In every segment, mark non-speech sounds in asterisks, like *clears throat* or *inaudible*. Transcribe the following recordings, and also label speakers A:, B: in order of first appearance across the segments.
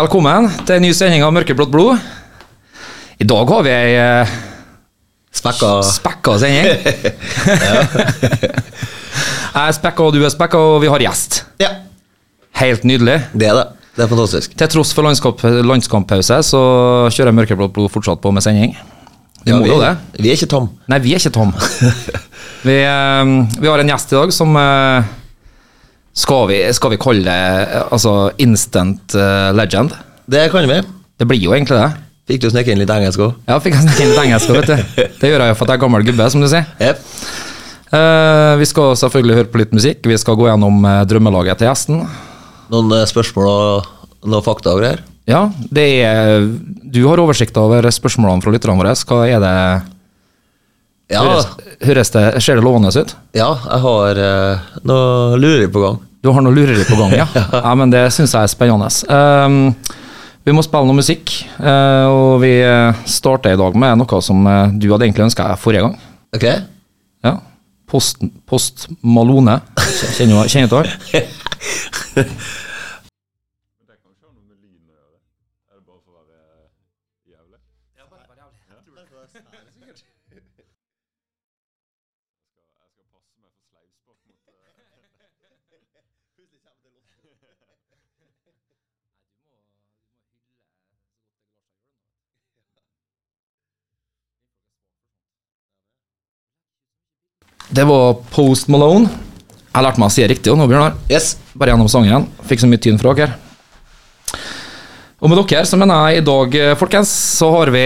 A: Velkommen til en ny sending av Mørkeblått blod. I dag har vi ei eh,
B: Spekka
A: spekka sending. Jeg *laughs* er spekka, og du er spekka, og vi har gjest.
B: Ja,
A: Helt nydelig.
B: det er det. Det er fantastisk.
A: Til tross for landskamp, landskamppause, så kjører Mørkeblått blod fortsatt på med sending. Vi
B: Ja,
A: må jo det.
B: Vi er ikke tom.
A: Nei, vi er ikke tom. Vi, eh, vi har en gjest i dag som eh, skal vi, skal vi kalle det eh, altså instant eh, legend?
B: Det kan vi.
A: Det blir jo egentlig det.
B: Fikk du sneke inn litt engelsk òg?
A: Ja, fikk jeg snakke litt engelsk også, vet du. Det gjør jeg jo for at jeg er gammel gubbe, som du sier.
B: Yep.
A: Eh, vi skal selvfølgelig høre på litt musikk. Vi skal gå gjennom eh, drømmelaget til gjesten.
B: Noen eh, spørsmål og noen fakta og greier?
A: Ja, det er Du har oversikt over spørsmålene fra lytterne våre. Hva er det
B: Ja,
A: høres, høres det, Ser det lovende ut?
B: ja jeg har eh, noe lureri på gang.
A: Du har noe lureri på gang, ja? ja men det syns jeg er spennende. Ehm, vi må spille noe musikk, eh, og vi eh, starter i dag med noe som eh, du hadde egentlig ønska deg forrige gang.
B: Ok?
A: Ja. Post, post Malone. Kjenner du kjenner du til han? Det var Post Malone. Jeg lærte meg å si det riktig jo nå, Bjørnar.
B: Yes.
A: Bare gjennom sangen. Fikk så mye tynn fra dere. Og med dere så mener jeg i dag, eh, folkens, så har vi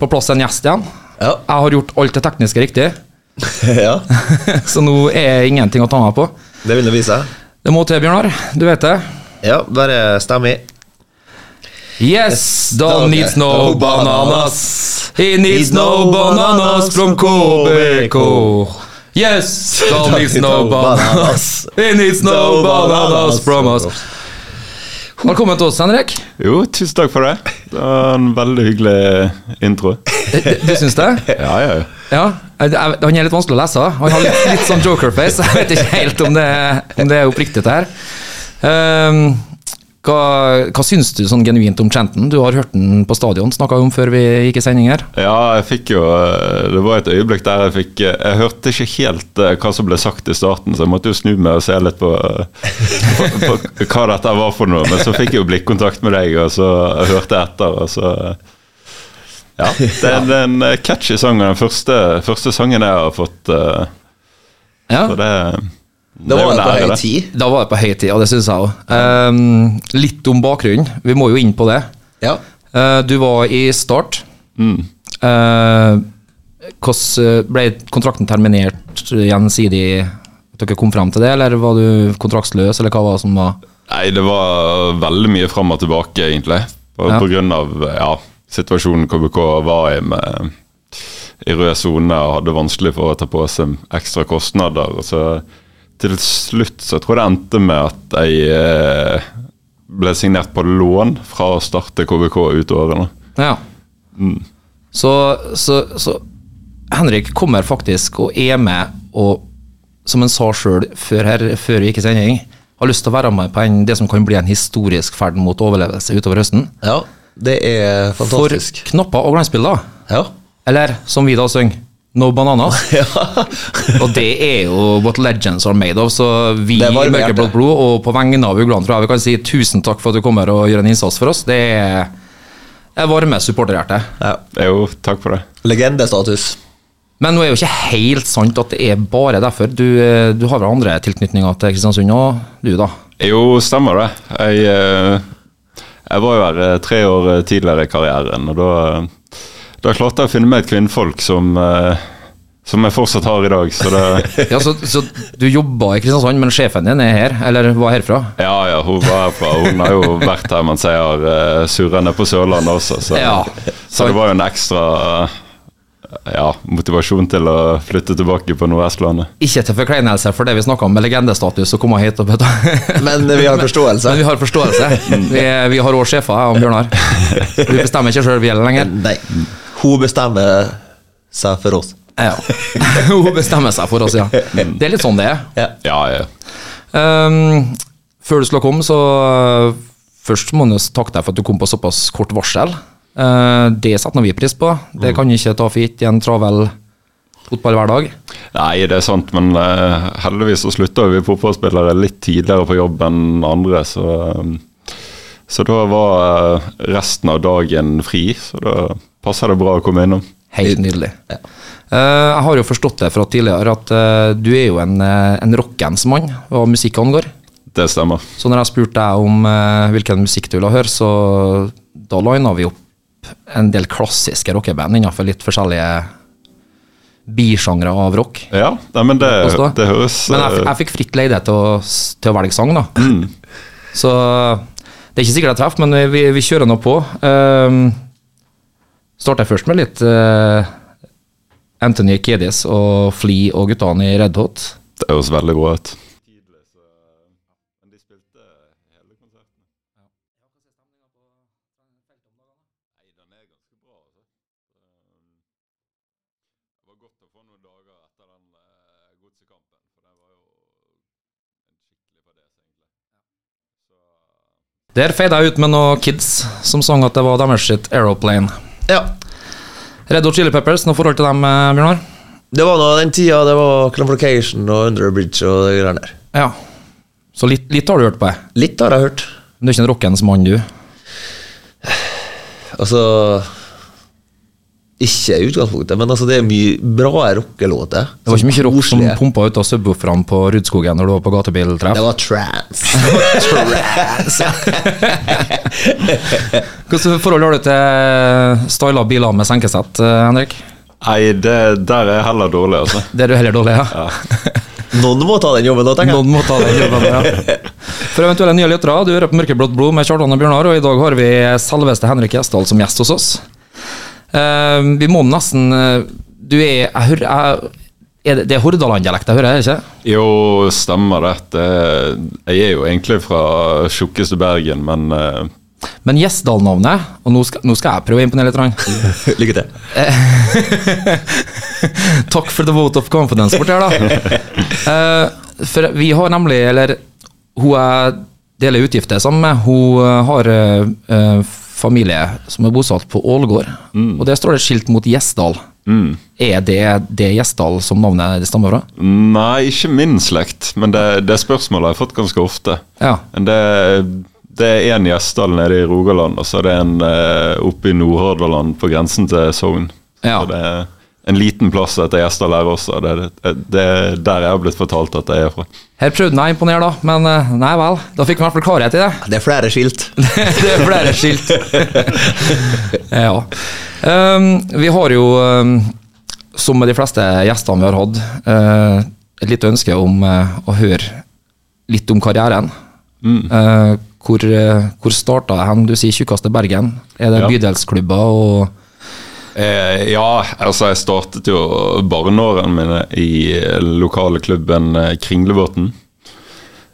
A: på plass en gjest igjen.
B: Ja. *laughs*
A: Jeg har gjort alt det tekniske riktig, *laughs*
B: ja.
A: så nå er ingenting å ta meg på.
B: Det vil det vise.
A: Det må til, Bjørnar. Du vet det.
B: Ja, bare stem i.
A: Yes, da needs no bananas. He needs no bananas from KBK. Yes, *laughs* da needs no bananas. He needs no bananas from us. Velkommen til oss, Henrik.
C: Jo, tusen takk for det. Det var en veldig hyggelig intro.
A: Eh, Du du syns det?
C: Ja, ja, ja.
A: Ja. Eh, det er- Han er litt vanskelig å lese. Han har litt, litt sånn jokerface. Jeg vet ikke helt om det, er- om det er oppriktig, det her. Ehm, hva, hva syns du sånn genuint om Chanton? Du har hørt den på stadion, snakka om før vi gikk i sending her.
C: Ja, jeg fikk jo eh, Det var et øyeblikk der jeg fikk eh, Jeg hørte ikke helt eh, hva som ble sagt i starten, så jeg måtte jo snu meg og se litt på, eh, på, på hva dette var for noe. Men så fikk jeg jo blikkontakt med deg, og så hørte jeg etter, og så Ja. Det er en eh, catchy sang, og den første, første sangen jeg har fått. eh,
A: Ja.
C: Så det,
B: Det
C: er jo
B: var
C: en
B: det
C: ære,
B: på høy
C: det.
B: tid.
A: Da var det på høy tid, og det syns jeg òg. litt om bakgrunnen. Vi må jo inn på det.
B: Ja.
A: Eh, du var i Start. Eh, hvordan eh, ble kontrakten terminert gjensidig? At dere kom frem til det, eller var du kontraktsløs, eller hva var det som var
C: Nei, det var veldig mye fram og tilbake, egentlig. På,
A: Ja.
C: på grunn av ja, situasjonen KBK var i med i rød sone og hadde vanskelig for å ta på seg ekstra kostnader. Og så til slutt så tror jeg det endte med at jeg eh, ble signert på lån fra å starte KBK ut årene.
A: Ja. Så, så, så Henrik kommer faktisk og er med og, som han sa sjøl før, her- før vi gikk i sending, har lyst til å være med på en, det som kan bli en historisk ferd mot overlevelse utover høsten.
B: ja. Det er fantastisk.
A: For knapper og glansbilder.
B: Ja. *laughs*
A: Eller som vi da synger, No Bananas.
B: ja.
A: Og det er jo what legends are made of. Så vi i
B: Det varmer
A: Mørkeblått
B: hjertet.
A: blod, og på vegne av uglene, tror jeg vi kan si tusen takk for at du kommer og gjør en innsats for oss. Det er det varme supporterhjerte.
B: ja.
C: Jo, takk for det.
B: Legendestatus.
A: Men nå er jo ikke helt sant at det er bare derfor. Du, eh, du har vel andre tilknytninger til Kristiansund òg, du da?
C: Jo, stemmer det. Jeg, eh, jeg var jo her eh, tre år eh, tidligere i karrieren, og da, eh, da klarte jeg å finne meg et kvinnfolk som, eh, som jeg fortsatt har i dag. Så det,
B: *laughs*
A: Ja, så, så du jobba i Kristiansand, men sjefen din er her, eller var herfra?
C: ja, ja, hun var herfra. Hun har jo vært her mens jeg har eh, surret ned på Sørlandet også, så,
A: Ja.
C: så det var jo en ekstra eh, ja, motivasjon til å flytte tilbake på Nordvestlandet.
A: Ikke til forkleinelse for det vi snakka om med legendestatus, å komme hit og bøte.
B: Men vi har forståelse.
A: Men vi har forståelse. Vi, vi har òg sjefer, jeg og Bjørnar. Vi bestemmer ikke sjøl, vi heller lenger.
B: Nei. Hun bestemmer seg for oss.
A: Ja. *laughs* Hun bestemmer seg for oss, ja. Det er litt sånn det er.
B: Ja.
C: Ja, ja.
A: Ehm, før du skulle komme, så Først må en jo takke deg for at du kom på såpass kort varsel. Eh, Det setter nå vi pris på. Det kan ikke ta for gitt i en travel fotballhverdag.
C: Nei, det er sant, men eh, heldigvis så slutta vi fotballspillere litt tidligere på jobb enn andre, så eh, Så da var eh, resten av dagen fri, så da passer det bra å komme innom.
A: Helt nydelig. Eh, jeg har jo forstått det fra tidligere at eh, du er jo en, uh, en rockens mann hva musikk angår.
C: Det stemmer.
A: Så når jeg spurte deg om eh, hvilken musikk du ville høre, så da lina vi opp en del klassiske rockeband innenfor litt forskjellige bisjangre av rock.
C: Ja, nei, men det,
A: oss da.
C: det høres
A: Men jeg, f-
C: eh,
A: jeg fikk fritt leide til å, s- til å velge sang, da. Så det er ikke sikkert jeg treffer, men vi, vi kjører nå på. Um, starter jeg først med litt eh, Anthony Kedis og Flea og guttene i Red Hot.
C: Det høres veldig bra ut.
A: Der feida jeg ut med noen kids som sang at det var deres sitt Aeroplane.
B: Ja.
A: Red Hot Chili Peppers, noe forhold til dem, eh, Bjørnar?
B: Det var nå den tida det var Clamforcation og Under the Bridge og det greiene der.
A: Ja. Så litt, litt har du hørt på, jeg.
B: Litt har jeg hørt.
A: Men du er ikke en rockens mann, du?
B: Altså Ikke i utgangspunktet, men altså det er mye bra rockelåter.
A: Det var ikke mye rock som
B: Koselige.
A: pumpa ut av subwooferne på Rudskogen når du var på gatebiltreff?
B: Det var *laughs* trance.
A: Hvilket forhold har du eh, til styla biler med senkesett, eh, Henrik?
C: Nei, det, der er jeg heller dårlig,
A: *laughs*
C: altså.
A: Det er du heller dårlig, ja.
B: Noen må ta den jobben nå, tenker jeg.
A: Noen må ta den jobben, *laughs* ja. For eventuelle nye lyttere, du hører på Mørkeblått blod med Kjartan og Bjørnar, og i dag har vi selveste Henrik Gjesdal som gjest hos oss. Eh, vi må nesten eh, Du er jeg hører, jeg, er det, det er Hordaland-dialekt jeg hører, er det ikke?
C: Jo, stemmer det. det. Jeg er jo egentlig fra tjukkeste Bergen, men eh,
A: Men Gjesdal-navnet Og nå skal, nå skal jeg prøve å imponere litt. grann.
B: Lykke til.
A: Takk for the vote of confidence borti her, da. Eh, for vi har nemlig, eller hun jeg deler utgifter sammen med, hun eh, har eh, eh, familie som er bosatt på Ålgård. Og der står det skilt mot Gjesdal. Er det det Gjesdal som navnet det stammer fra?
C: Nei, ikke min slekt, men det, det spørsmålet har jeg fått ganske ofte.
A: Ja.
C: Men Det, det er én Gjesdal nede i Rogaland, og så er det en eh, oppe i Nordhordaland på grensen til Sogn.
A: Ja.
C: Så det er en liten plass etter Gjesdal her også. Det, det, det er der jeg har blitt fortalt at jeg er fra.
A: Her prøvde jeg å imponere, da, men eh, nei vel. Da fikk vi i hvert fall klarhet i det.
B: Det er flere skilt.
A: *laughs* det er flere skilt. *laughs* ja. Ehm, vi har jo, ehm, som med de fleste gjestene vi har hatt, eh, et lite ønske om eh, å høre litt om karrieren. Eh, hvor uh, hvor starta hen? Du sier tjukkeste Bergen. Er det
C: Ja.
A: bydelsklubber og
C: Eh, ja, altså jeg startet jo barneårene mine i eh, lokale klubben eh, Kringlebåten,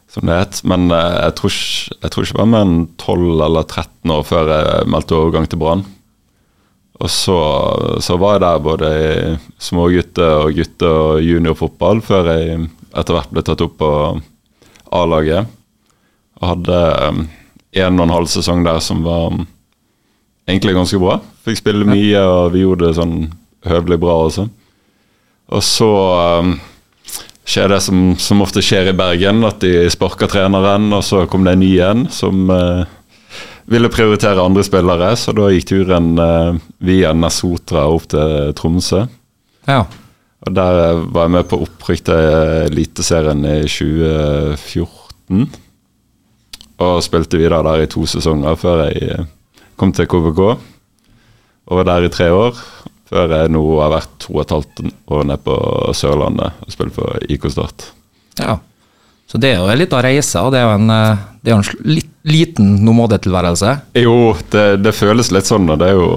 C: som det het. Men eh, jeg, tror ikke, jeg tror ikke jeg var mer enn 12 eller 13 år før jeg meldte overgang til Brann. Og så, så var jeg der både i smågutter og gutter og juniorfotball før jeg etter hvert ble tatt opp på A-laget. Og hadde eh, en og en halv sesong der som var egentlig ganske bra. Fikk spille mye, og vi gjorde det sånn høvelig bra også. Og så um, skjer det som, som ofte skjer i Bergen, at de sparker treneren, og så kom det en ny en som eh, ville prioritere andre spillere, så da gikk turen eh, via Nesotra opp til Tromsø.
A: Ja.
C: Og der var jeg med på opprykk til Eliteserien i 2014. Og spilte videre der i to sesonger før jeg eh, kom til KVK. Og var der i tre år, før jeg nå har vært to og et halvt år nede på Sørlandet og spilt for IK Start.
A: ja. Så det er jo en liten reise, og det er jo en, eh, det er jo en sl- litt, liten nomadetilværelse.
C: Jo, det, det føles litt sånn, og det er jo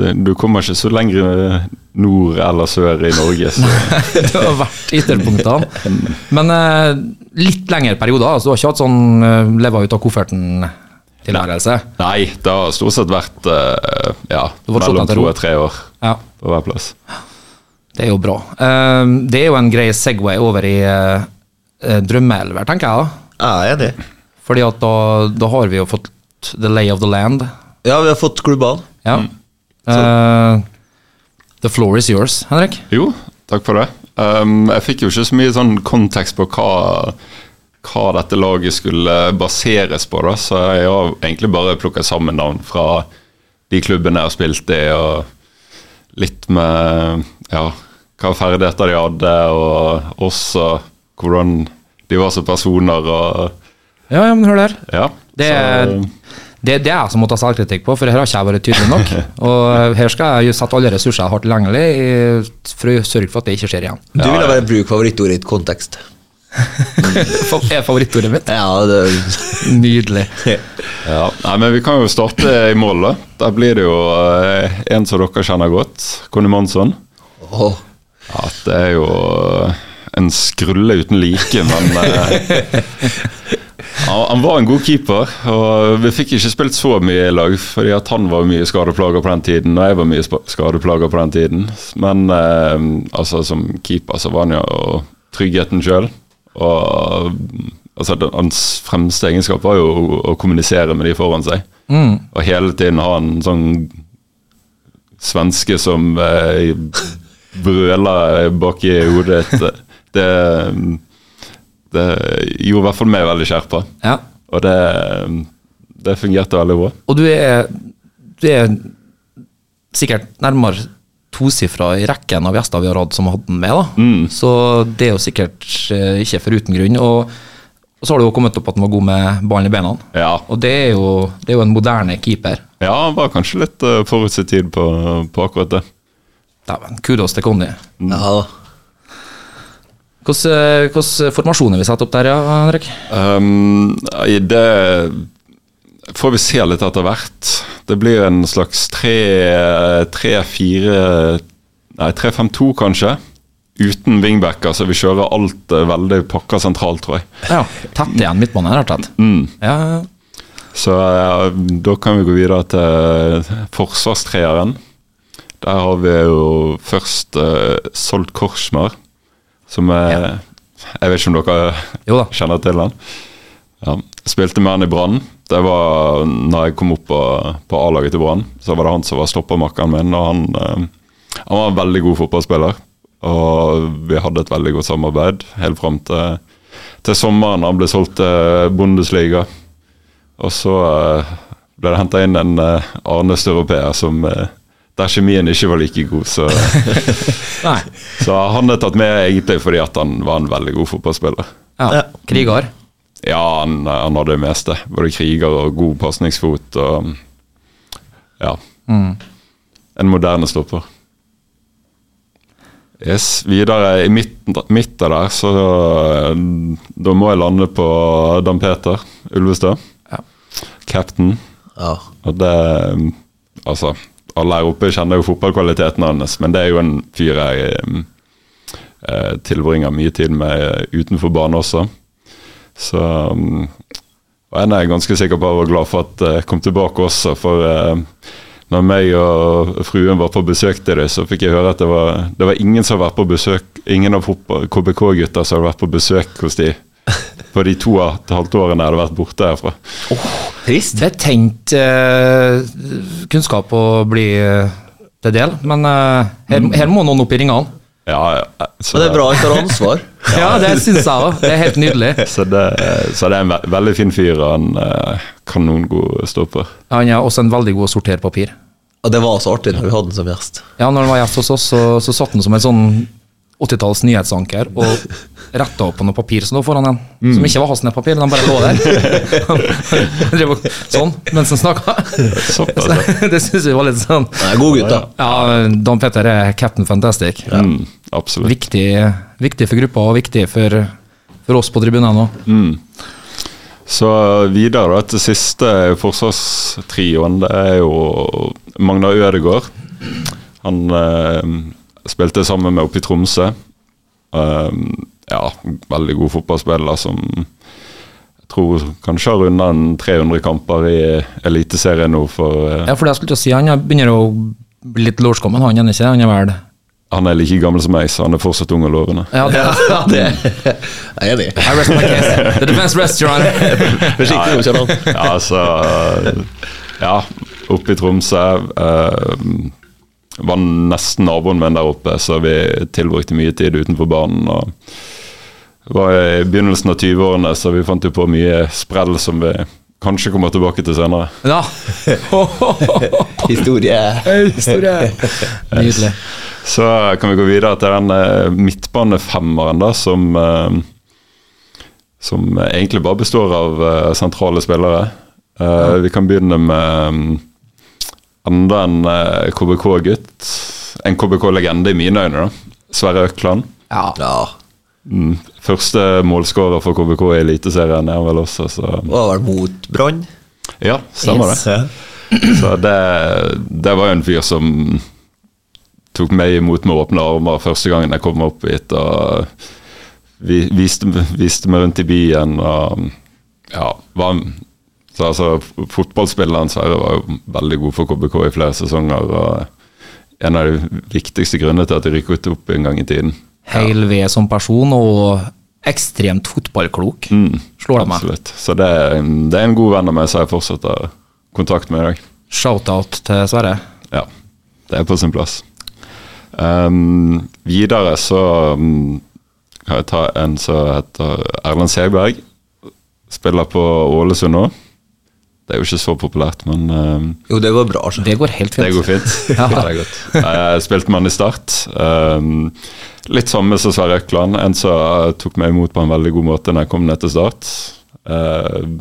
C: det, Du kommer ikke så lenger nord eller sør i Norge, så
A: *laughs* Det har vært ytterpunktene. Men eh, litt lengre perioder. Altså, du har ikke hatt sånn eh, leva ut av kofferten-tilværelse?
C: Nei, det har stort sett vært eh, ja,
A: Du har fått slått
C: mellom
A: deg til
C: to
A: ro.
C: og tre år
A: Ja,
C: på hver plass.
A: det er jo bra. Eh, det er jo en grei Segway over i uh, eh, drømmeelver, tenker jeg. da.
B: Ja, jeg er enig.
A: Fordi at da, da har vi jo fått the lay of the land.
B: Ja, vi har fått klubbene.
A: Ja. Eh, the floor is yours, Henrik.
C: Jo, takk for det. Ehm, jeg fikk jo ikke så mye sånn kontekst på hva, hva dette laget skulle baseres på, da, så jeg har egentlig bare plukka sammen navn fra de klubbene jeg har spilt i, og litt med ja, hva ferdigheter de hadde, og også hvordan de var som personer. og
A: Ja, ja, men hør der.
C: ja.
A: Det er,
C: så-
A: det, det er jeg som må ta selvkritikk på, for her har ikke jeg vært tydelig
C: *laughs*
A: nok. Og her skal jeg jo sette alle ressurser jeg har tilgjengelig, i- for å sørge for at det ikke skjer igjen. *laughs*
B: Du ville bare bruke favorittordet i et kontekst.
A: Fa- Er favorittordet mitt.
B: Ja, det *laughs*
A: Nydelig.
C: Ja, nei, men Vi kan jo starte i mål. da. Der blir det jo eh, en som dere kjenner godt, Conny Monsson.
B: Åh.
C: Ja, det er jo eh, en skrulle uten like, men eh, han, han var en god keeper. og Vi fikk ikke spilt så mye i lag, fordi at han var mye skadeplager på den tiden, og jeg var mye spa- skadeplager på den tiden. Men eh, altså, som keeper så var han jo tryggheten sjøl. Og altså, den- hans fremste egenskap var jo å, å kommunisere med de foran seg. Og hele tiden ha en sånn svenske som eh, brøler eh, bak i hodet ditt. Det, det gjorde i hvert fall meg veldig skjerpa.
A: Ja.
C: Og det, det fungerte veldig bra.
A: Og du er, du er sikkert nærmere tosifra i rekken av gjester vi har hatt som har hatt den med, da.
C: Mm.
A: Så det er jo sikkert eh, ikke for uten grunn. Og, og så har det jo kommet opp at han var god med ballen i beina.
C: Ja,
A: Og det er jo, det er jo en moderne keeper.
C: ja han var kanskje litt eh, forut sin tid på, på akkurat det.
A: Dæven, kudos til Conny.
B: Ja da.
A: Hvilken formasjon har eh, vi satt opp der, ja, Henrik?
C: Um, i det får vi se litt etter hvert. Det blir en slags 3-4 Nei, 3-5-2 kanskje. Uten wingbacker, så vi kjører alt eh, veldig pakka sentralt, tror jeg.
A: Ja, Tett igjen midtbane, rett og slett.
B: Mm.
A: Ja, ja.
C: Så ja, da kan vi gå videre til forsvarstreeren. Der har vi jo først uh, Solt Korsmer, som er Jeg vet ikke om dere
A: Jo da.
C: kjenner til han. Ja. Spilte med han i Brann. Det var når jeg kom opp på, på A-laget til Brann. Så var det han som var stoppermakkeren min, og han, eh, han var en veldig god fotballspiller. Og vi hadde et veldig godt samarbeid helt fram til, til sommeren han ble solgt til Bundesliga. Og så eh, ble det henta inn en uh, Arne Støropeer som eh, der kjemien ikke var like god, så,
A: Nei.
C: så han er tatt med egentlig fordi at han var en veldig god fotballspiller.
A: Ja.
B: Ja.
A: Krigar.
C: Ja, han, han hadde det meste. Både kriger og god pasningsfot og Ja.
A: Mm.
C: En moderne stopper. Yes, Videre i midten, midten der, så eh, da må jeg lande på Dan Peter Ulvestad.
A: Ja.
C: Captain.
B: Ja.
C: Og det um, Altså, alle her oppe kjenner jo fotballkvaliteten hans, men det er jo en fyr jeg um, eh, tilbringer mye tid med eh, utenfor bane også. Så um, Og en er jeg ganske sikker på og glad for at eh, kom tilbake også, for eh, når meg og fruen var på besøk til dem, så fikk jeg høre at det var, det var ingen som har vært på besøk Ingen av KBK-gutta som hadde vært på besøk hos de på de to og et halvt årene jeg hadde vært borte herfra.
B: Trist.
A: Betenkt eh, kunnskap å bli eh, til del, men eh, her,
B: Mm.
A: her må noen opp i ringene.
C: Ja, ja, så
B: Men det er bra han tar ansvar.
A: Ja, det syns jeg òg. Det er helt nydelig.
C: *laughs* Så det, så det er en ve veldig fin fyr, og han eh, kanongod stopper.
A: Han er også en veldig god sorterpapir.
B: Og det var så artig når vi hadde han som gjest.
A: Ja, når han var gjest hos oss, så, så satt han som en sånn 80-talls nyhetsanker og retta opp på noe papir som lå foran en. Som ikke var hans papir, han bare lå *laughs* der. Han drev og- sånn mens han snakka.
C: Såpass,
A: *laughs* Det syns vi var litt sånn
B: Nei, god gutt, da.
A: Ja, Dan Petter er captain fantastic.
C: *laughs* Mm, absolutt.
A: Viktig, viktig for gruppa og viktig for, for oss på tribunen òg.
C: Så videre da, til siste forsvarstrioen, det er jo Magnar Ødegaard. Han eh, spilte sammen med oppe i Tromsø. Um, ja, veldig god fotballspiller som jeg tror kanskje har runda 300 kamper i Eliteserien nå for eh,
A: Ja, for det jeg skulle til å si, han begynner å bli litt lårskommen, han er ikke? Han er vel
C: Han er like gammel som meg, så han er fortsatt ung og lovende.
A: Ja, det,
B: Ja, det *laughs* jeg er enig.
A: I rest my case. The defense rests, your honor.
B: Forsiktig nå, Kjell Arne.
C: *laughs* Ja, altså Ja, oppe i Tromsø. Eh, var nesten naboen min der oppe, så vi tilbrukte mye tid utenfor banen. og det var I begynnelsen av 20-årene, så vi fant jo på mye sprell som vi kanskje kommer tilbake til senere.
A: *laughs* Ja.
B: Historie.
A: Historie. Nydelig.
C: Så kan vi gå videre til den eh, midtbanefemmeren da, som eh, Som egentlig bare består av eh, sentrale spillere. Eh, Vi kan begynne med mm, enda en eh, KBK-gutt. En KBK-legende i mine øyne, da. Sverre Økland.
A: Ja.
B: Ja.
C: Første målskårer for KBK i Eliteserien er han vel også, så
B: Og var mot Brann.
C: Ja, stemmer det.
B: Ja.
C: Så det, det var jo en fyr som tok meg imot med åpne armer første gangen jeg kom opp hit. og vi, viste, viste meg rundt i byen. og ja, var, en- så altså, Fotballspilleren Sverre var jo veldig god for KBK i flere sesonger. og En av de viktigste grunnene til at de rykket opp en gang i tiden.
A: Heil ved som person og ekstremt fotballklok, slår det meg.
C: Mm. Absolutt. Så det er, en, det er en god venn av meg som jeg fortsetter kontakt med i dag.
A: Shout-out til Sverre.
C: Ja, det er på sin plass. Ehm, videre så mm, kan jeg ta en som heter Erlend Segberg. Spiller på Ålesund nå. Det er jo ikke så populært, men ehm,
B: Jo, det går bra. altså. Så.
A: Det går helt fint.
C: det går
A: *laughs*
C: fint.
A: Ja.
C: Det er godt. Jeg spilte med han i start. Ehm, litt samme som Sverre Økland. En som eh, tok meg imot på en veldig god måte når jeg kom ned til start. Ehm,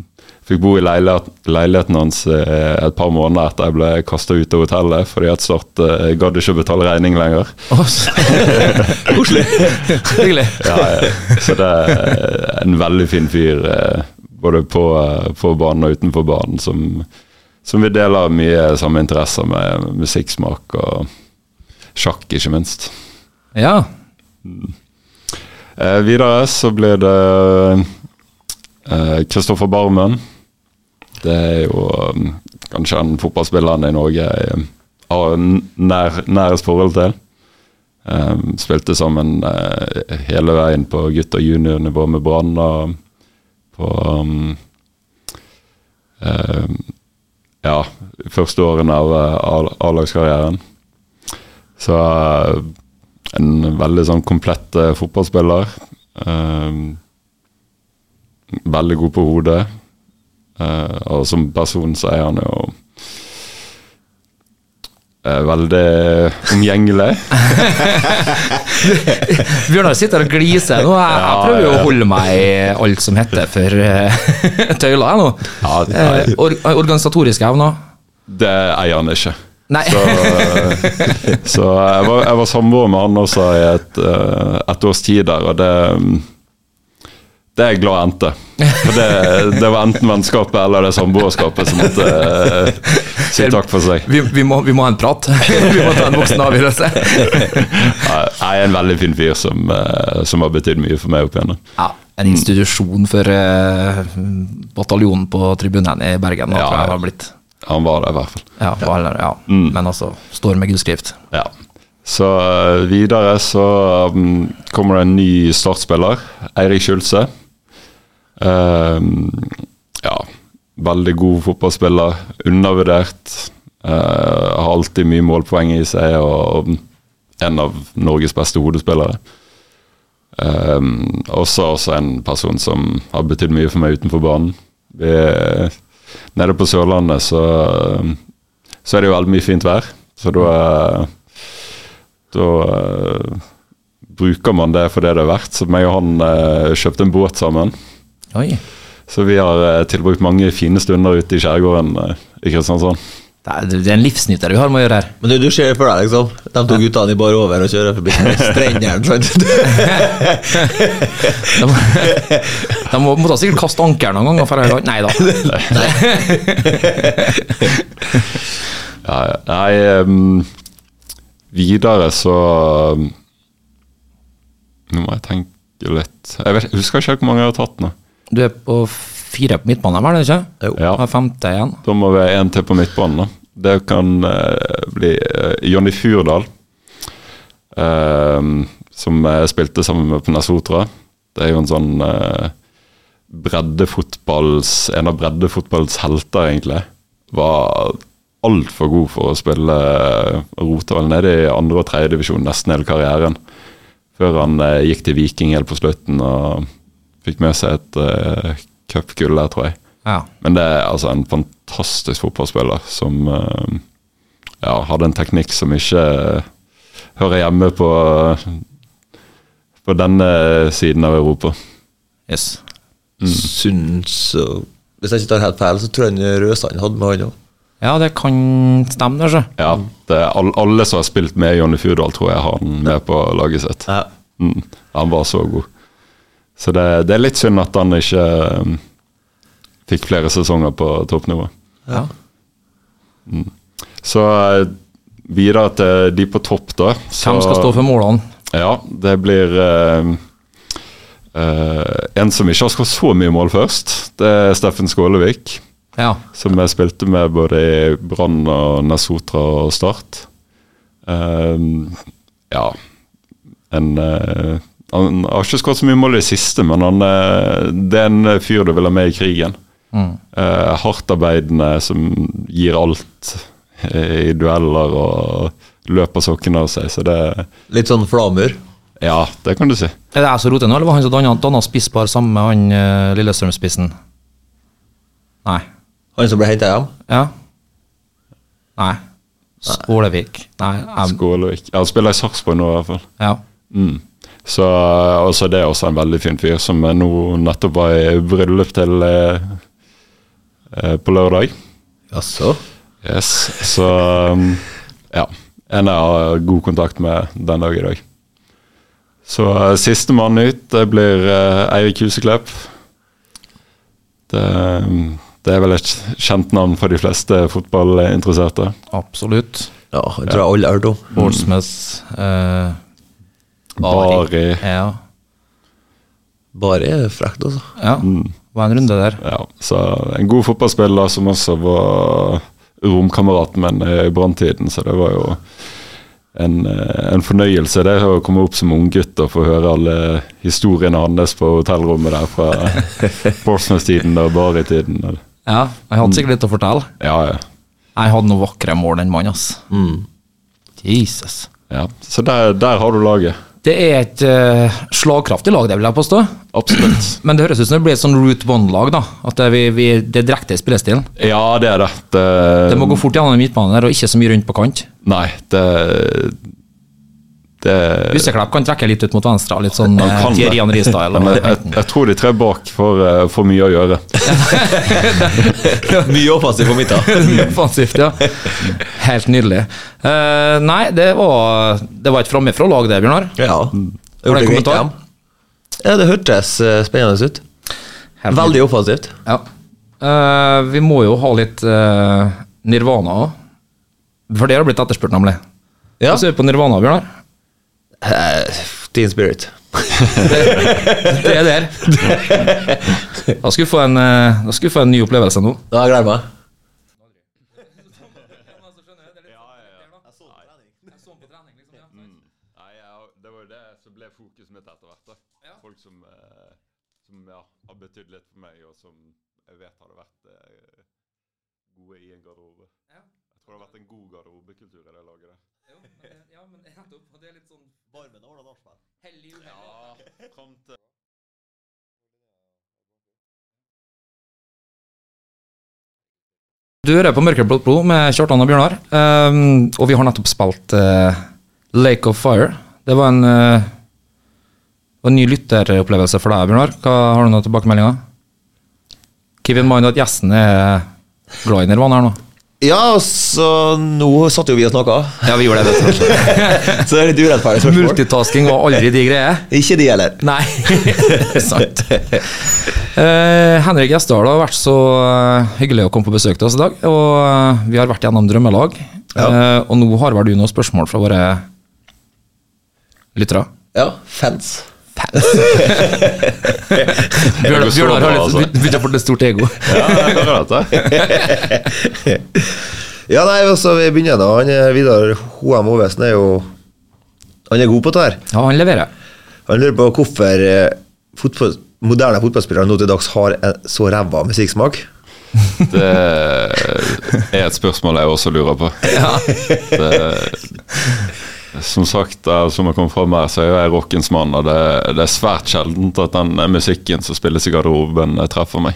C: fikk bo i leilighet, leiligheten hans eh, et par måneder etter jeg ble kasta ut av hotellet fordi at Start eh, gadd ikke å betale regning lenger.
A: Å, så-
C: *laughs*
A: Koselig. Hyggelig.
C: Ja, ja. Så det er eh, en veldig fin fyr, eh, både på, eh, på banen og utenfor banen, som, som vi deler mye samme interesser med musikksmak og sjakk, ikke minst.
A: Ja.
C: Eh, videre så blir det eh, Kristoffer Barmen. Det er jo eh, kanskje den fotballspilleren i Norge jeg um, har n- nær, nærest forhold til. Eh, spilte sammen eh, hele veien på gutt- og juniornivå med Brann og på um, eh, Ja, første årene av eh, A- A-lagskarrieren. Så eh, en veldig sånn komplett eh, fotballspiller. Ehm, veldig god på hodet. Eh, og som person så er han jo eh, veldig omgjengelig.
A: Bjørnar sitter og gliser nå. Jeg, jeg
C: Ja,
A: prøver jo å
C: ja, ja.
A: holde meg i alt som heter for eh, *laughs* tøyler, jeg nå.
C: Ja, det-
A: Eh, or organisatoriske evner.
C: Det eier han ikke.
A: Nei.
C: Så, eh, så jeg var, jeg var samboer med han også i et, eh, et års tid der, og det mm, Det er jeg glad endte. For det, det var enten vennskapet eller det samboerskapet som måtte eh, si takk for seg.
A: *laughs* Vi, vi, må, vi må ha en prat. *laughs* vi må ta en voksen avgjørelse.
C: Nei, Jeg er en veldig fin fyr som, eh, som har betydd mye for meg opp igjennom.
A: Ja, en institusjon for eh, bataljonen på tribunen i Bergen. Ja,
C: Ja,
A: tror jeg det
C: ja.
A: har blitt.
C: Han var det, i hvert fall.
A: Ja, på alle- ja. Men altså, står med gudskrift.
C: Ja. Så eh, videre så mm, kommer det en ny startspiller, Eirik Skjulse. Eh, ja, veldig god fotballspiller. Undervurdert. Eh, har alltid mye målpoeng i seg og en av Norges beste hodespillere. Um, også, også en person som har betydd mye for meg utenfor banen. Vi, nede på Sørlandet så, um, så er det jo veldig mye fint vær, så da eh, Da eh, bruker man det for det det er verdt. Så meg og han eh, kjøpte en båt sammen.
A: Oi,
C: Så vi har eh, tilbrukt mange fine stunder ute i skjærgården eh, i Kristiansand.
A: det er, det er en livsnyter vi har med å gjøre her.
B: Men du, du ser for deg, liksom. De to guttene i bar over og kjører forbi *laughs* strendene. sant?
A: De, *laughs* de må, må da sikkert kaste ankeren noen ganger. For jeg, nei da.
C: Ja, ja. Nei, ehm, videre så ehm, Nå må jeg tenke litt. Jeg, vet, jeg husker ikke helt hvor mange jeg har tatt nå.
A: Du er på fire på midtbanen, er det ikke?
B: Jo.
C: Ja.
A: Og femte igjen.
C: Da må vi ha en til på midtbanen. da. Det kan eh, bli eh, Jonny Furdal. eh, som jeg spilte sammen med på Nesotra. Det er jo en sånn eh, breddefotballs En av breddefotballens helter, egentlig. Var altfor god for å spille Rota vel nede i andre- og tredjedivisjon nesten hele karrieren. Før han eh, gikk til Viking helt på slutten og fikk med seg et eh, cupgull der, tror jeg.
A: Ja.
C: Men det er altså en fantastisk fotballspiller som eh, ja, hadde en teknikk som ikke eh, hører hjemme på, på denne siden av Europa.
A: Yes.
B: Mm. Syns og Hvis jeg ikke tar helt feil, så tror jeg han Røsand hadde med han òg.
A: ja, det kan stemme, kanskje.
C: Ja, det er all, Alle som har spilt med Jonny Fjordal, tror jeg har han med på laget sitt.
B: Ja.
C: Mm, han var så god. Så det, det er litt synd at han ikke eh, fikk flere sesonger på toppnivå.
A: Ja.
C: Så eh, videre til de på topp, da. Så,
A: Hvem skal stå for målene?
C: Ja, det blir eh, eh, en som ikke har skåret så mye mål først. Det er Steffen Skålevik,
A: Ja.
C: som jeg spilte med både i Brann og Nesotra og Start. Eh, ja en, eh, Han har ikke skåret så mye mål i det siste, men han, eh, det er en fyr du vil ha med i krigen.
A: Mm.
C: Uh, Hardtarbeidende som gir alt eh, i dueller og løper sokkene av seg, så det
B: Litt sånn flamur.
C: Ja, det kan du si.
A: Er det jeg som roter nå, eller var han som danna, danna spisspar sammen med han eh, Lillestrøm-spissen? Nei.
B: Han som ble henta hjem.
A: Ja. Nei. Skålevik. Nei, jeg,
C: Skålevik. Ja, han spiller i Sarpsborg nå, i hvert fall.
A: ja.
C: Mm. Så eh, altså, Det er også en veldig fin fyr, som eh, nå nettopp var i bryllup til eh, eh, på lørdag.
B: Jaså?
C: Yes. Så um, ja. En jeg har god kontakt med den dag i dag. Så eh, sistemann ut, det blir eh, Eirik Huseklepp. Det, um, det er vel et kjent navn for de fleste fotballinteresserte.
A: Absolutt.
B: Ja, det tror jeg alle har hørt om.
A: Boardsmith. eh,
C: Bari.
A: Ja.
B: Bare er frekt, altså.
A: ja. Var en runde der.
C: Ja, så En god fotballspiller som også var romkameraten min eh, i branntiden, så det var jo en, eh, en fornøyelse det å komme opp som unggutt og få høre alle historiene hans på hotellrommet der fra
A: *laughs*
C: Portsmouth-tiden og Bari-tiden. og-
A: Ja, jeg hadde sikkert litt å fortelle.
C: Ja, ja.
A: Jeg hadde noen vakre mål, den mannen, ass. Jesus.
C: ja. Så der, der har du laget.
A: Det er et eh, slagkraftig lag, det vil jeg påstå.
C: Absolutt. *clears throat*
A: Men det høres ut som det blir et sånn Root One-lag, da. At det, vi, vi, det er direkte i spillestilen.
C: Ja, det er det. det
A: Det må gå
C: Um,
A: fort gjennom den midtbanen der, og ikke så mye rundt på kant.
C: Nei, det det,
A: Huseklepp kan trekke litt ut mot venstre, litt sånn
C: Han kan *laughs* det.
A: Thierry Henri-style.
C: Men jeg, jeg, jeg tror de tre bak får eh, for mye å gjøre.
B: Mye offensiv på *laughs* midten.
A: *laughs* Mye offensivt, ja. Helt nydelig. Eh, nei, det var, det var et framifrå lag, det, Bjørnar.
B: Ja.
A: Har du en
B: Gjorde greit
A: kommentar?
B: hjem. Mm. Ja, det hørtes eh, spennende ut.
A: Helt
B: Veldig offensivt.
A: Ja. Eh, vi må jo ha litt eh, Nirvana òg. For det har blitt etterspurt, nemlig.
B: Ja.
A: Hva ser du på Nirvana, Bjørnar?
B: Eh, Teen Spirit.
A: Det er der.
C: *laughs*
A: Da skal vi få en, eh, da skal vi få en ny opplevelse nå.
B: Ja, jeg gleder meg.
C: Nei, ja, Det var jo det som ble fokuset mitt etter hvert. da. Folk som, eh, som ja, har betydd litt for meg, og som jeg vet hadde vært eh, gode i en garderobe. Jeg tror det har vært en god garderobekultur i det laget der. Ja, fram til
A: Du hører på Mørkeblått blod med Kjartan og Bjørnar. Ehm, og vi har nettopp spilt eh, Lake of Fire. Det var en, eh, var en ny lytteropplevelse for deg, Bjørnar. Hva Har du noen tilbakemeldinger? Keep in mind at gjesten er glad i Nirvana her nå.
B: Ja, så nå satt jo vi og snakka,
A: Ja, vi gjorde det. vet
B: *laughs* så det er litt urettferdig
A: du.
B: spørsmål.
A: Multitasking var aldri de greier.
B: Ikke de heller.
A: Nei, *laughs* sant. Eh, Henrik Gjesdal har vært så eh, hyggelig å komme på besøk til oss i dag. Og eh, vi har vært gjennom drømmelag. Eh, og nå har vel du noen spørsmål fra våre lyttere?
B: *laughs* Ja, fans.
A: Bjørnar
C: så
A: Bjørnar har litt-
C: bra, altså.
A: begynte å få litt stort ego.
C: Ja, jeg hører dette. *laughs*
B: Ja, nei, altså, vi begynner da. Han eh, Vidar Hoem Ovesen er jo
D: Han er god på det her.
A: Ja, han leverer.
D: Han lurer på hvorfor eh, fotball, moderne fotballspillere nå til dags har en så ræva musikksmak.
C: Det er et spørsmål jeg også lurer på. Det, som sagt, eh, som jeg kom fram her, så er jo jeg rockens mann, og det, det er svært sjeldent at den musikken som spilles i garderoben, eh, treffer meg.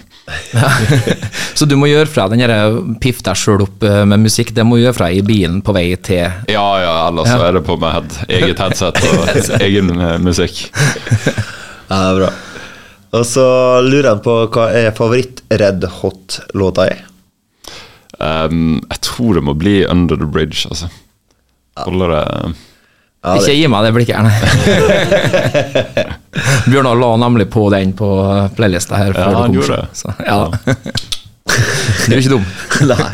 A: Så du må gjøre fra den der piff deg sjøl opp eh, med musikk, det må du gjøre fra i bilen på vei til
C: Ja, ja, ellers så er det på meg head, eget *laughs* headset og egen eh, musikk.
D: Ja, det er bra. Og så lurer han på hva er favoritt-Red Hot-låta er.
C: Ehm, jeg tror det må bli Under the Bridge, altså. Holder det
D: Ja, det-
A: Ikke gi meg det blikket her, nei. Bjørnar la nemlig på den på playlista her. før
C: Ja,
A: du
C: han
A: kom,
C: gjorde det.
A: Så, ja. Du er ikke dum.
D: Nei.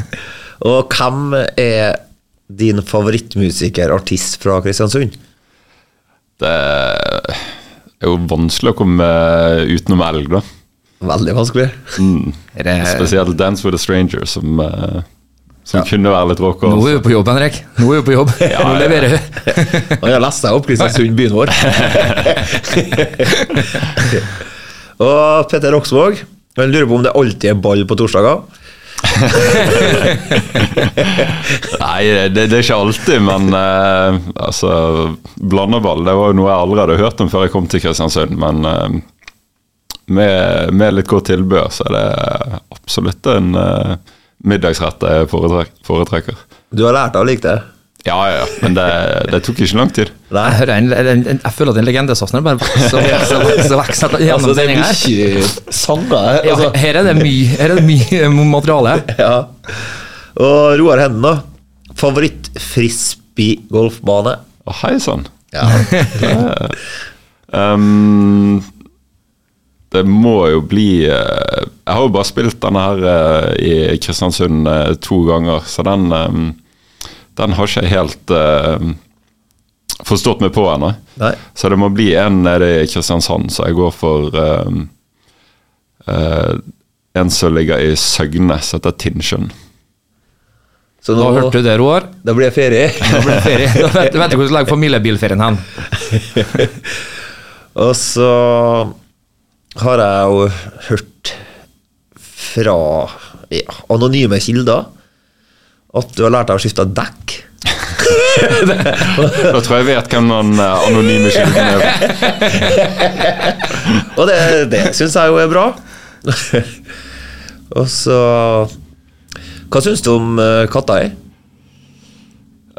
D: Og hvem er din favorittmusiker, artist fra Kristiansund?
C: Det er jo vanskelig å komme utenom elg, da. Mm.
D: Veldig *laughs* vanskelig.
A: Er det-
C: Spesielt Dance with a Stranger, som, eh, som kunne være litt rocker.
A: Nå
C: Altså.
A: er vi på jobb, Henrik. Nå er vi på jobb. Nå
C: ja.
A: leverer vi.
D: Han har lest seg opp Kristiansund, byen vår. *laughs* Og Petter Oksvåg han lurer på om det alltid er ball på torsdager.
C: Nei, det, det er ikke alltid, men eh, altså Blandeball det var jo noe jeg aldri hadde hørt om før jeg kom til Kristiansund, men eh, med, med litt godt tilbør så er det absolutt en eh, middagsrett jeg foretrek, foretrekker.
D: Du har lært deg å like det?
C: Ja, ja, ja, men det, det tok ikke lang tid.
A: Jeg, hører en, en, en, jeg føler at en legendesaften bare vokser og vokser og vokser, og vokser gjennom
B: Altså, det er
A: sendingen her.
B: mye sanger her.
A: Ja,
B: Altså,
A: her er det mye, her er det mye eh, materiale.
D: *laughs* Ja. Og Roar Henden, da. Favoritt-frisbee-golfbane?
C: Å, Hei sann!
D: Ja.
C: Ehm, det må jo bli eh, Jeg har jo bare spilt denne her eh, i Kristiansund eh, to ganger, så den ehm, Den har ikke jeg helt eh, forstått meg på ennå.
D: Nei.
C: Så det må bli en nede i Kristiansand, så jeg går for ehm, eh, en som ligger i Søgne, som heter Tinnsjøen.
D: Så
A: Da
D: nå
A: hørte du det, Roar.
D: Da blir det ferie. *laughs*
A: Da blir det ferie. *laughs* Da vet, vet du hvor du legger familiebilferien hen.
D: Og så har jeg jo hørt fra ja, anonyme kilder at du har lært deg å skifte dekk.
C: Da tror jeg jeg vet hvem den eh, anonyme kilden er.
D: Og det, det syns jeg jo er bra. *laughs* Og så Hva syns du om eh, katta di?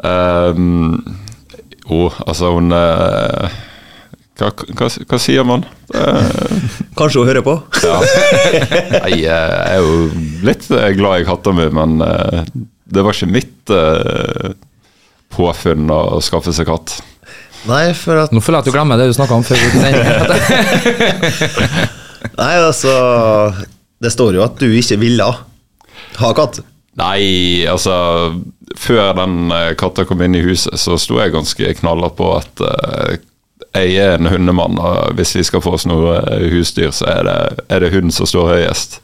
C: Ehm, Jo, altså hun eh, hva, hva, hva sier man? Eh,
D: Kanskje hun hører på?
C: ja. Nei, eh, jeg er jo litt eh, glad i katta mi, men eh, det var ikke mitt eh, påfunn å skaffe seg katt.
D: Nei, for at
A: Nå føler jeg at du glemmer det du snakka om før. vi sendte.
D: Nei, altså Det står jo at du ikke ville ha katt.
C: Nei, altså Før den eh, katta kom inn i huset, så sto jeg ganske knallhardt på at eh, jeg er en hundemann, og hvis vi skal få oss noe eh, husdyr, så er det, er det hund som står høyest.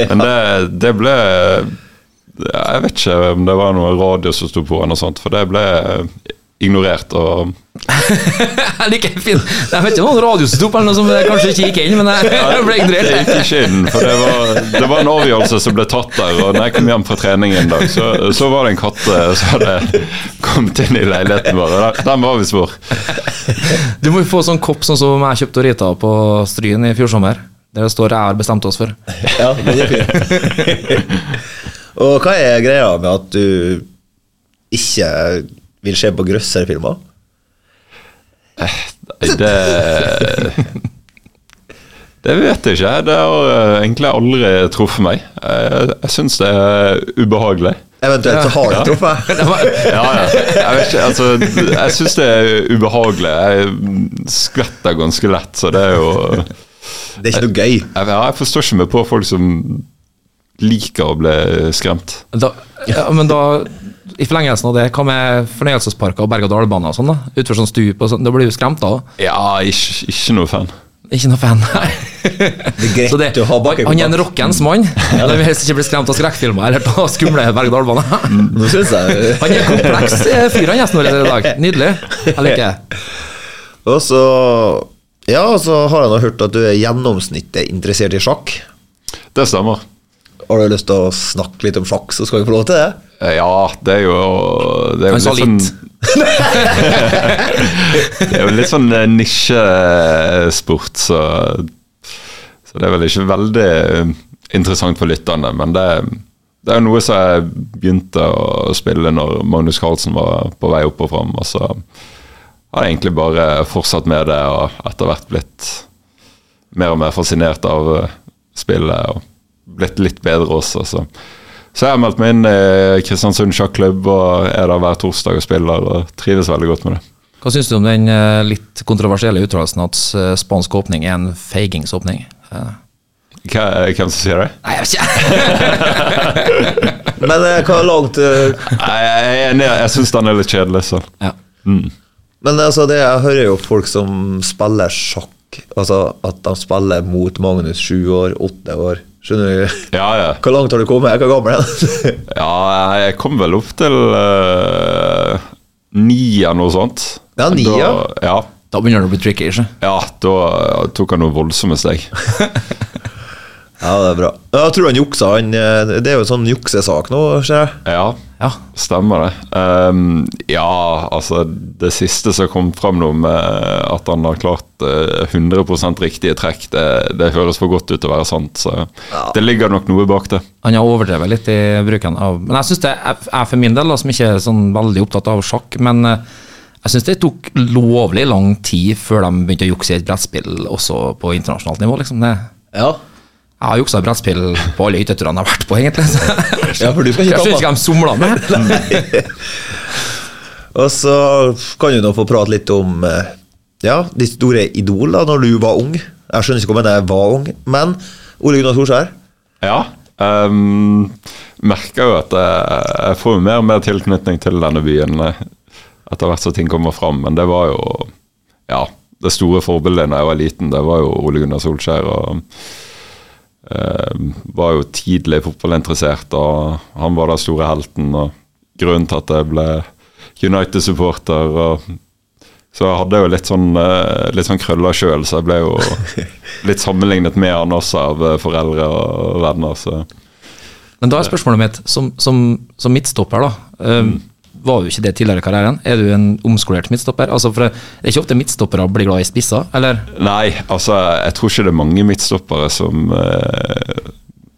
C: Men det, det ble Jeg vet ikke om det var noe radio som sto på, eller noe sånt, for det ble eh, ignorert. og
A: *laughs* Jeg liker fin. Jeg vet ikke om noen radiostop eller noe som kanskje ikke gikk inn, men jeg *laughs* ble
C: Det
A: ignorert.
C: gikk ikke inn, for det var, det var en avgjørelse som ble tatt der. Og når jeg kom hjem fra trening en dag, så, så var det en katt eh, som hadde kommet inn i leiligheten vår. og den- Den var visst vår.
A: Du må jo få sånn kopp sånn som jeg kjøpte og Rita på Stryn i fjor sommer. Der det står 'jeg har bestemt *laughs* oss for'.
D: Ja, den er fin. *laughs* Og hva er greia med at du ikke vil se på grøsserfilmer?
C: Nei, Det Det vet jeg ikke. Det har eh, egentlig aldri truffet meg. Jeg, jeg syns det er ubehagelig.
D: Eventuelt så har du truffet.
A: Det var,
C: Ja, ja. Jeg vet ikke, altså Jeg syns det er ubehagelig. Jeg skvetter ganske lett, så det er jo
D: Det er ikke noe gøy.
C: Jeg, ja, jeg forstår ikke meg på folk som liker å bli skremt.
A: Da, ja, men da, i forlengelsen av det, hva med fornøyelsesparker og berg-og-dal-baner og sånn? da? Utfor sånn stup og sånn, da blir du skremt da?
C: Ja, ikke, ikke noe fan.
A: Ikke noe fan, nei.
D: greit
A: Så det-
D: å ha bakkekontakt.
A: Han er en rockens mann. Da vil jeg helst ikke bli skremt av skrekkfilmer eller av skumle
C: Mm.
A: berg-og-dal-baner.
D: Nå syns jeg
A: *laughs* Han er kompleks eh, fyr, han gjesten vår i dag. Nydelig. Jeg liker det.
D: Og så Ja, og så har jeg nå hørt at du er gjennomsnittet interessert i sjakk.
C: Det stemmer.
D: Har du lyst til å snakke litt om sjakk, så skal vi få lov til det.
C: Eh, Ja, det er jo, det er jo
A: Han sa
C: litt sånn
A: litt.
C: *laughs* Det er jo litt sånn eh, nisjesport, så, så det er vel ikke veldig eh, interessant for lytterne. Men det, det er jo noe som jeg begynte å spille når Magnus Carlsen var på vei opp og fram. Og så har jeg egentlig bare fortsatt med det og etter hvert blitt mer og mer fascinert av eh, spillet og blitt litt bedre også. Så, så jeg har meldt meg inn i Kristiansund sjakklubb og er der hver torsdag og spiller og trives veldig godt med det.
A: Hva syns du om den eh, litt kontroversielle uttalelsen at eh, spansk åpning er en feigingsåpning? Eh,
C: Hva, eh, hvem som sier det?
A: Nei, jeg vet ikke.
D: *laughs* Men eh, hva langt eh,
C: Nei, jeg er enig, jeg syns den er litt kjedelig. Så.
A: Ja.
D: Men altså, det, jeg hører jo folk som spiller sjakk. Altså at de spiller mot Magnus sju år, åtte år. Skjønner du? *laughs*
C: Ja, ja.
D: Hvor langt har du kommet? Hvor gammel er du?
C: ja, jeg kom vel opp til eh, ni eller noe sånt.
D: Ja, ni,
C: da,
D: ja.
C: ja.
A: Da begynner det å bli tricky, ikke
C: Ja, da eh, tok han noen voldsomme steg.
D: *laughs* Ja, det er bra. Jeg tror han juksa. Han, eh, det er jo en sånn juksesak nå, ser jeg.
C: Ja,
A: Ja.
C: stemmer det. Ehm, ja, altså Det siste som kom fram nå med at han har klart eh, 100 riktige trekk, det, det høres for godt ut til å være sant. Så det ligger nok noe bak det.
A: Han har overdrevet litt i bruken av Men jeg synes det jeg- jeg for min del, da, som ikke er sånn veldig opptatt av sjakk, men eh, jeg syns det tok lovlig lang tid før de begynte å jukse i et brettspill også på internasjonalt nivå. liksom det
D: Ja.
A: jeg har juksa i brettspill på alle hytteturene jeg har vært på, egentlig. Så.
D: *laughs* Ja, for du skal ikke
A: jeg skjønner
D: tape.
A: ikke hva de Mm. somla
D: *laughs*
A: med.
D: Og så kan du nå få prate litt om eh, ja, ditt store idol da når du var ung. Jeg skjønner ikke om jeg var ung, men Ole Gunnar Solskjær.
C: Ja. Um, merker jo at jeg, jeg får jo mer og mer tilknytning til denne byen eh, etter hvert som ting kommer fram, men det var jo Ja, det store forbildet da jeg var liten, det var jo Ole Gunnar Solskjær. og eh, Var jo tidlig fotballinteressert, og han var den store helten. og Grunnen til at jeg ble United-supporter. og Så jeg hadde jo litt sånn, eh, litt sånn krøller sjøl, så jeg ble jo litt sammenlignet med han også av eh, foreldre og venner. så...
A: Men da er spørsmålet mitt, som, som, som midtstopper, da. eh, Var jo ikke det tidligere i karrieren? Er du en omskolert midtstopper? Altså, for Det det er ikke ofte midtstoppere blir glad i spisser, eller?
C: Nei, altså jeg tror ikke det er mange midtstoppere som, eh,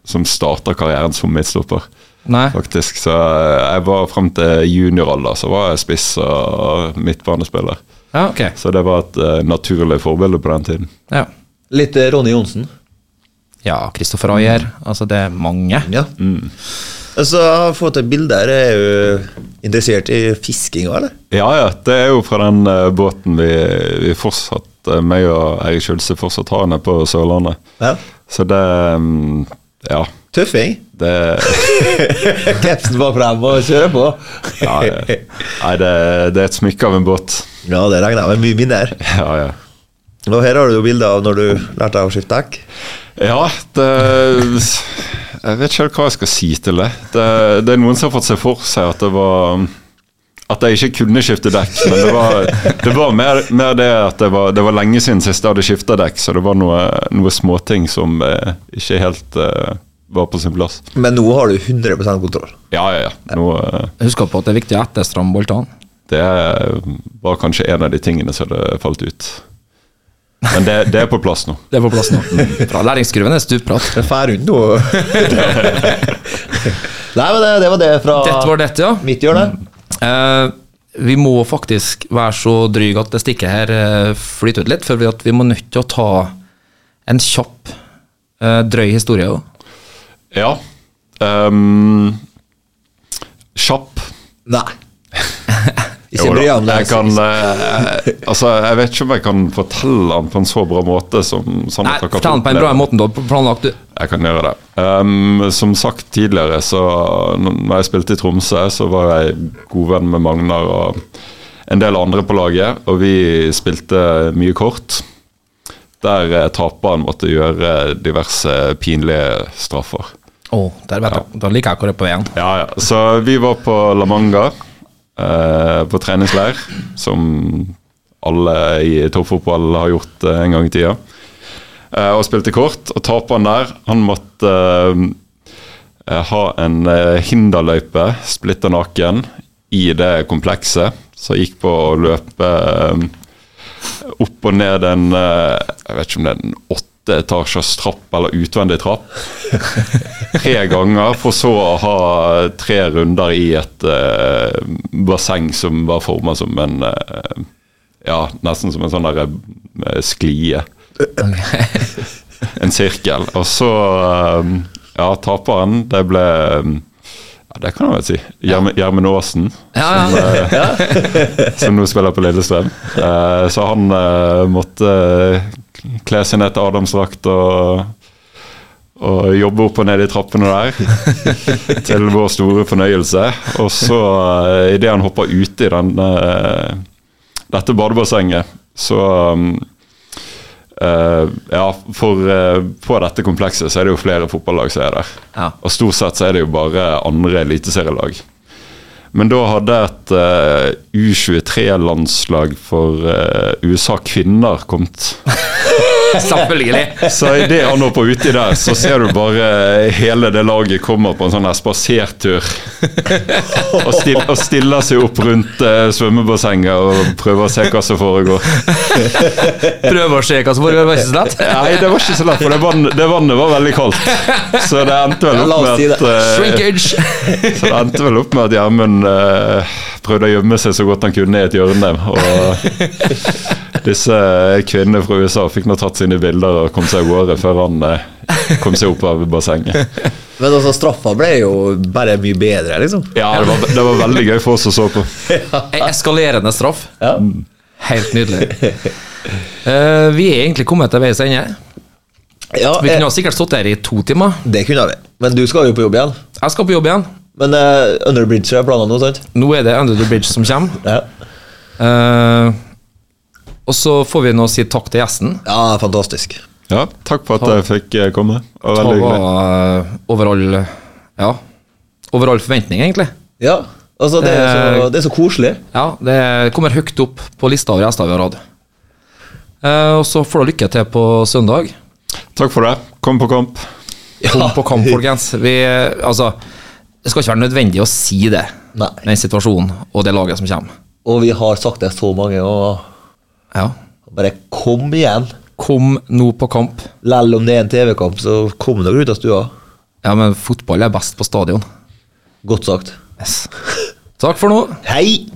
C: som starter karrieren som midtstopper.
A: Nei.
C: Faktisk, så eh, jeg var Frem til junioralder så var jeg spiss og midtbanespiller.
A: Ja, ok.
C: Så det var et eh, naturlig forbilde på den tiden.
A: Ja.
D: Litt eh, Ronny Johnsen.
A: Ja, Kristoffer Ayer. Altså, det er mange.
D: Ja. Så jeg har fått et bilde her. Er jo interessert i fiskinga, eller?
C: Ja, ja, det er jo fra den eh, båten vi, vi fortsatt, eh, meg og Eirik Kjølse fortsatt har nede på Sørlandet.
D: Ja.
C: Så det mm, Ja.
D: Tøffing.
C: Det
D: Kapsen var frem og kjører på.
C: Ja, ja. Nei, det, det er et smykke av en båt.
D: Ja, det regner jeg med. Mye mindre. her.
C: Ja, ja.
D: Og her har du jo bilde av når du lærte deg å skifte dekk.
C: ja det, jeg vet ikke helt hva jeg skal si til det. det. Det er noen som har fått seg for seg at det var at jeg ikke kunne skifte dekk, men det var, det var mer, mer det at det var, det var lenge siden sist jeg hadde skifta dekk, så det var noe, noe småting som eh, ikke helt eh, var på sin plass.
D: Men nå har du 100 kontroll.
C: Ja, ja, ja. Nå, eh,
A: Husk på at det er viktig å etterstramme boltene.
C: Det var kanskje en av de tingene som hadde falt ut. Men det, det er på plass nå.
A: Det er på plass nå. Mm. Fra læringskurven er stupbratt.
D: Den fer rundt nå. *laughs* Nei, men det, det var det fra
A: Dette var dette, ja.
D: mitt hjørne.
A: Eh, vi må faktisk være så dryge at det stikket her eh, flyter ut litt, for vi, at vi må nødt til å ta en kjapp, eh, drøy historie. også.
C: Ja. Ehm, kjapp.
D: Nei.
C: Jo
D: Ikke
C: da,
D: bry deg om det.
C: Jeg kan, eh, altså, jeg vet ikke om jeg kan fortelle den på en så bra måte som sånn
A: Nei,
C: at dere får
A: fortell den på en
C: oppleve
A: bra måte du har planlagt. Du.
C: Jeg kan gjøre det. Ehm, som sagt tidligere, så når jeg spilte i Tromsø, så var jeg god venn med Magnar og en del andre på laget. Og vi spilte mye kort. der eh, taperen måtte gjøre diverse pinlige straffer.
A: Å, der vet jeg. Da liker jeg hvor jeg er på veien.
C: Ja, ja. Så vi var på La Manga, eh, på treningsleir, som alle i toppfotball har gjort eh, en gang i tida. Eh, og spilte kort, og taperen der, han måtte eh, ha en eh, hinderløype, splitter naken, i det komplekset. Så gikk på å løpe eh, opp og ned en eh, Jeg vet ikke om det er en åtte etasjers trapp eller utvendig trapp tre ganger, for så å ha tre runder i et eh, basseng som var forma som en eh, Ja, nesten som en sånn der eh, sklie. en sirkel. Og så eh, Ja, taperen, det ble ja, Det kan jeg vel si. Gjerm- Gjermund Aasen
A: Ja, ja.
C: som nå spiller på Lillestrøm. Eh, så han eh, måtte eh, kle seg ned til Adamsdrakt og, og jobbe opp og ned i trappene der. til vår store fornøyelse. Og så, eh, idet han hoppa uti den, eh, dette badebassenget, så um, eh, ja, for eh, på dette komplekset så er det jo flere fotballag som er der.
A: Ja.
C: Og stort sett så er det jo bare andre eliteserielag. Men da hadde et U23-landslag for eh, USA kvinner kommet.
A: eh, *laughs* Selvfølgelig.
C: Så idet han hopper uti der, så ser du bare hele det laget kommer på en sånn her spasertur. Og, still, og stiller seg opp rundt eh, svømmebassenget og prøver å se hva som foregår.
A: Prøve å se hva som foregår, var ikke så lett.
C: Nei, det var ikke så lett, for det, vann, det vannet var veldig kaldt. Så det endte
D: Ja,
C: vel
D: la
C: opp
D: oss si det.
C: med at eh,
A: Shrinkage.
C: Så det endte vel opp med at Gjermund eh, prøvde å gjemme seg så godt han kunne i et hjørne. Og disse kvinnene fra USA fikk nå tatt sine bilder og kom seg av gårde før han eh, kom seg opp av bassenget.
D: Men altså, straffa ble jo bare mye bedre, liksom.
C: Ja, det var, det var veldig gøy for oss å så på.
A: *laughs* En eskalerende straff.
D: Ja.
A: Helt nydelig. Eh, vi er egentlig kommet til veis ende.
D: Ja,
A: Vi
D: eh,
A: kunne ha sikkert stått der i to timer.
D: det kunne vi. Men du skal jo på jobb igjen.
A: Jeg skal på jobb igjen.
D: Men uh, Under the Bridge er planene nå, sant?
A: Nå er det Under the Bridge som kommer.
D: Ja.
A: Eh, og så får vi nå si takk til gjesten.
D: ja, fantastisk.
C: Ja, takk for at jeg fikk eh, komme. Det var
A: Han
C: veldig hyggelig.
A: var eh, over all Ja, over all forventning, egentlig.
D: Ja, altså, det er så,
A: Eh,
D: det er så koselig.
A: Ja, det kommer høyt opp på lista over gjester vi har hatt. Eh, og så får du lykke til på søndag.
C: Takk for det. Kom på kamp.
A: Kom på kamp, folkens. Vi, altså, det skal ikke være nødvendig å si det,
D: Nei.
A: den situasjonen og det laget som kommer.
D: Og vi har sagt det så mange ganger.
A: Ja.
D: Bare kom igjen.
A: Kom nå på kamp.
D: Lell om det er en TV-kamp, så kom dere ut av stua.
A: Ja, men fotball er best på stadion.
D: Godt sagt.
A: Yes. Takk for nå.
D: Hei!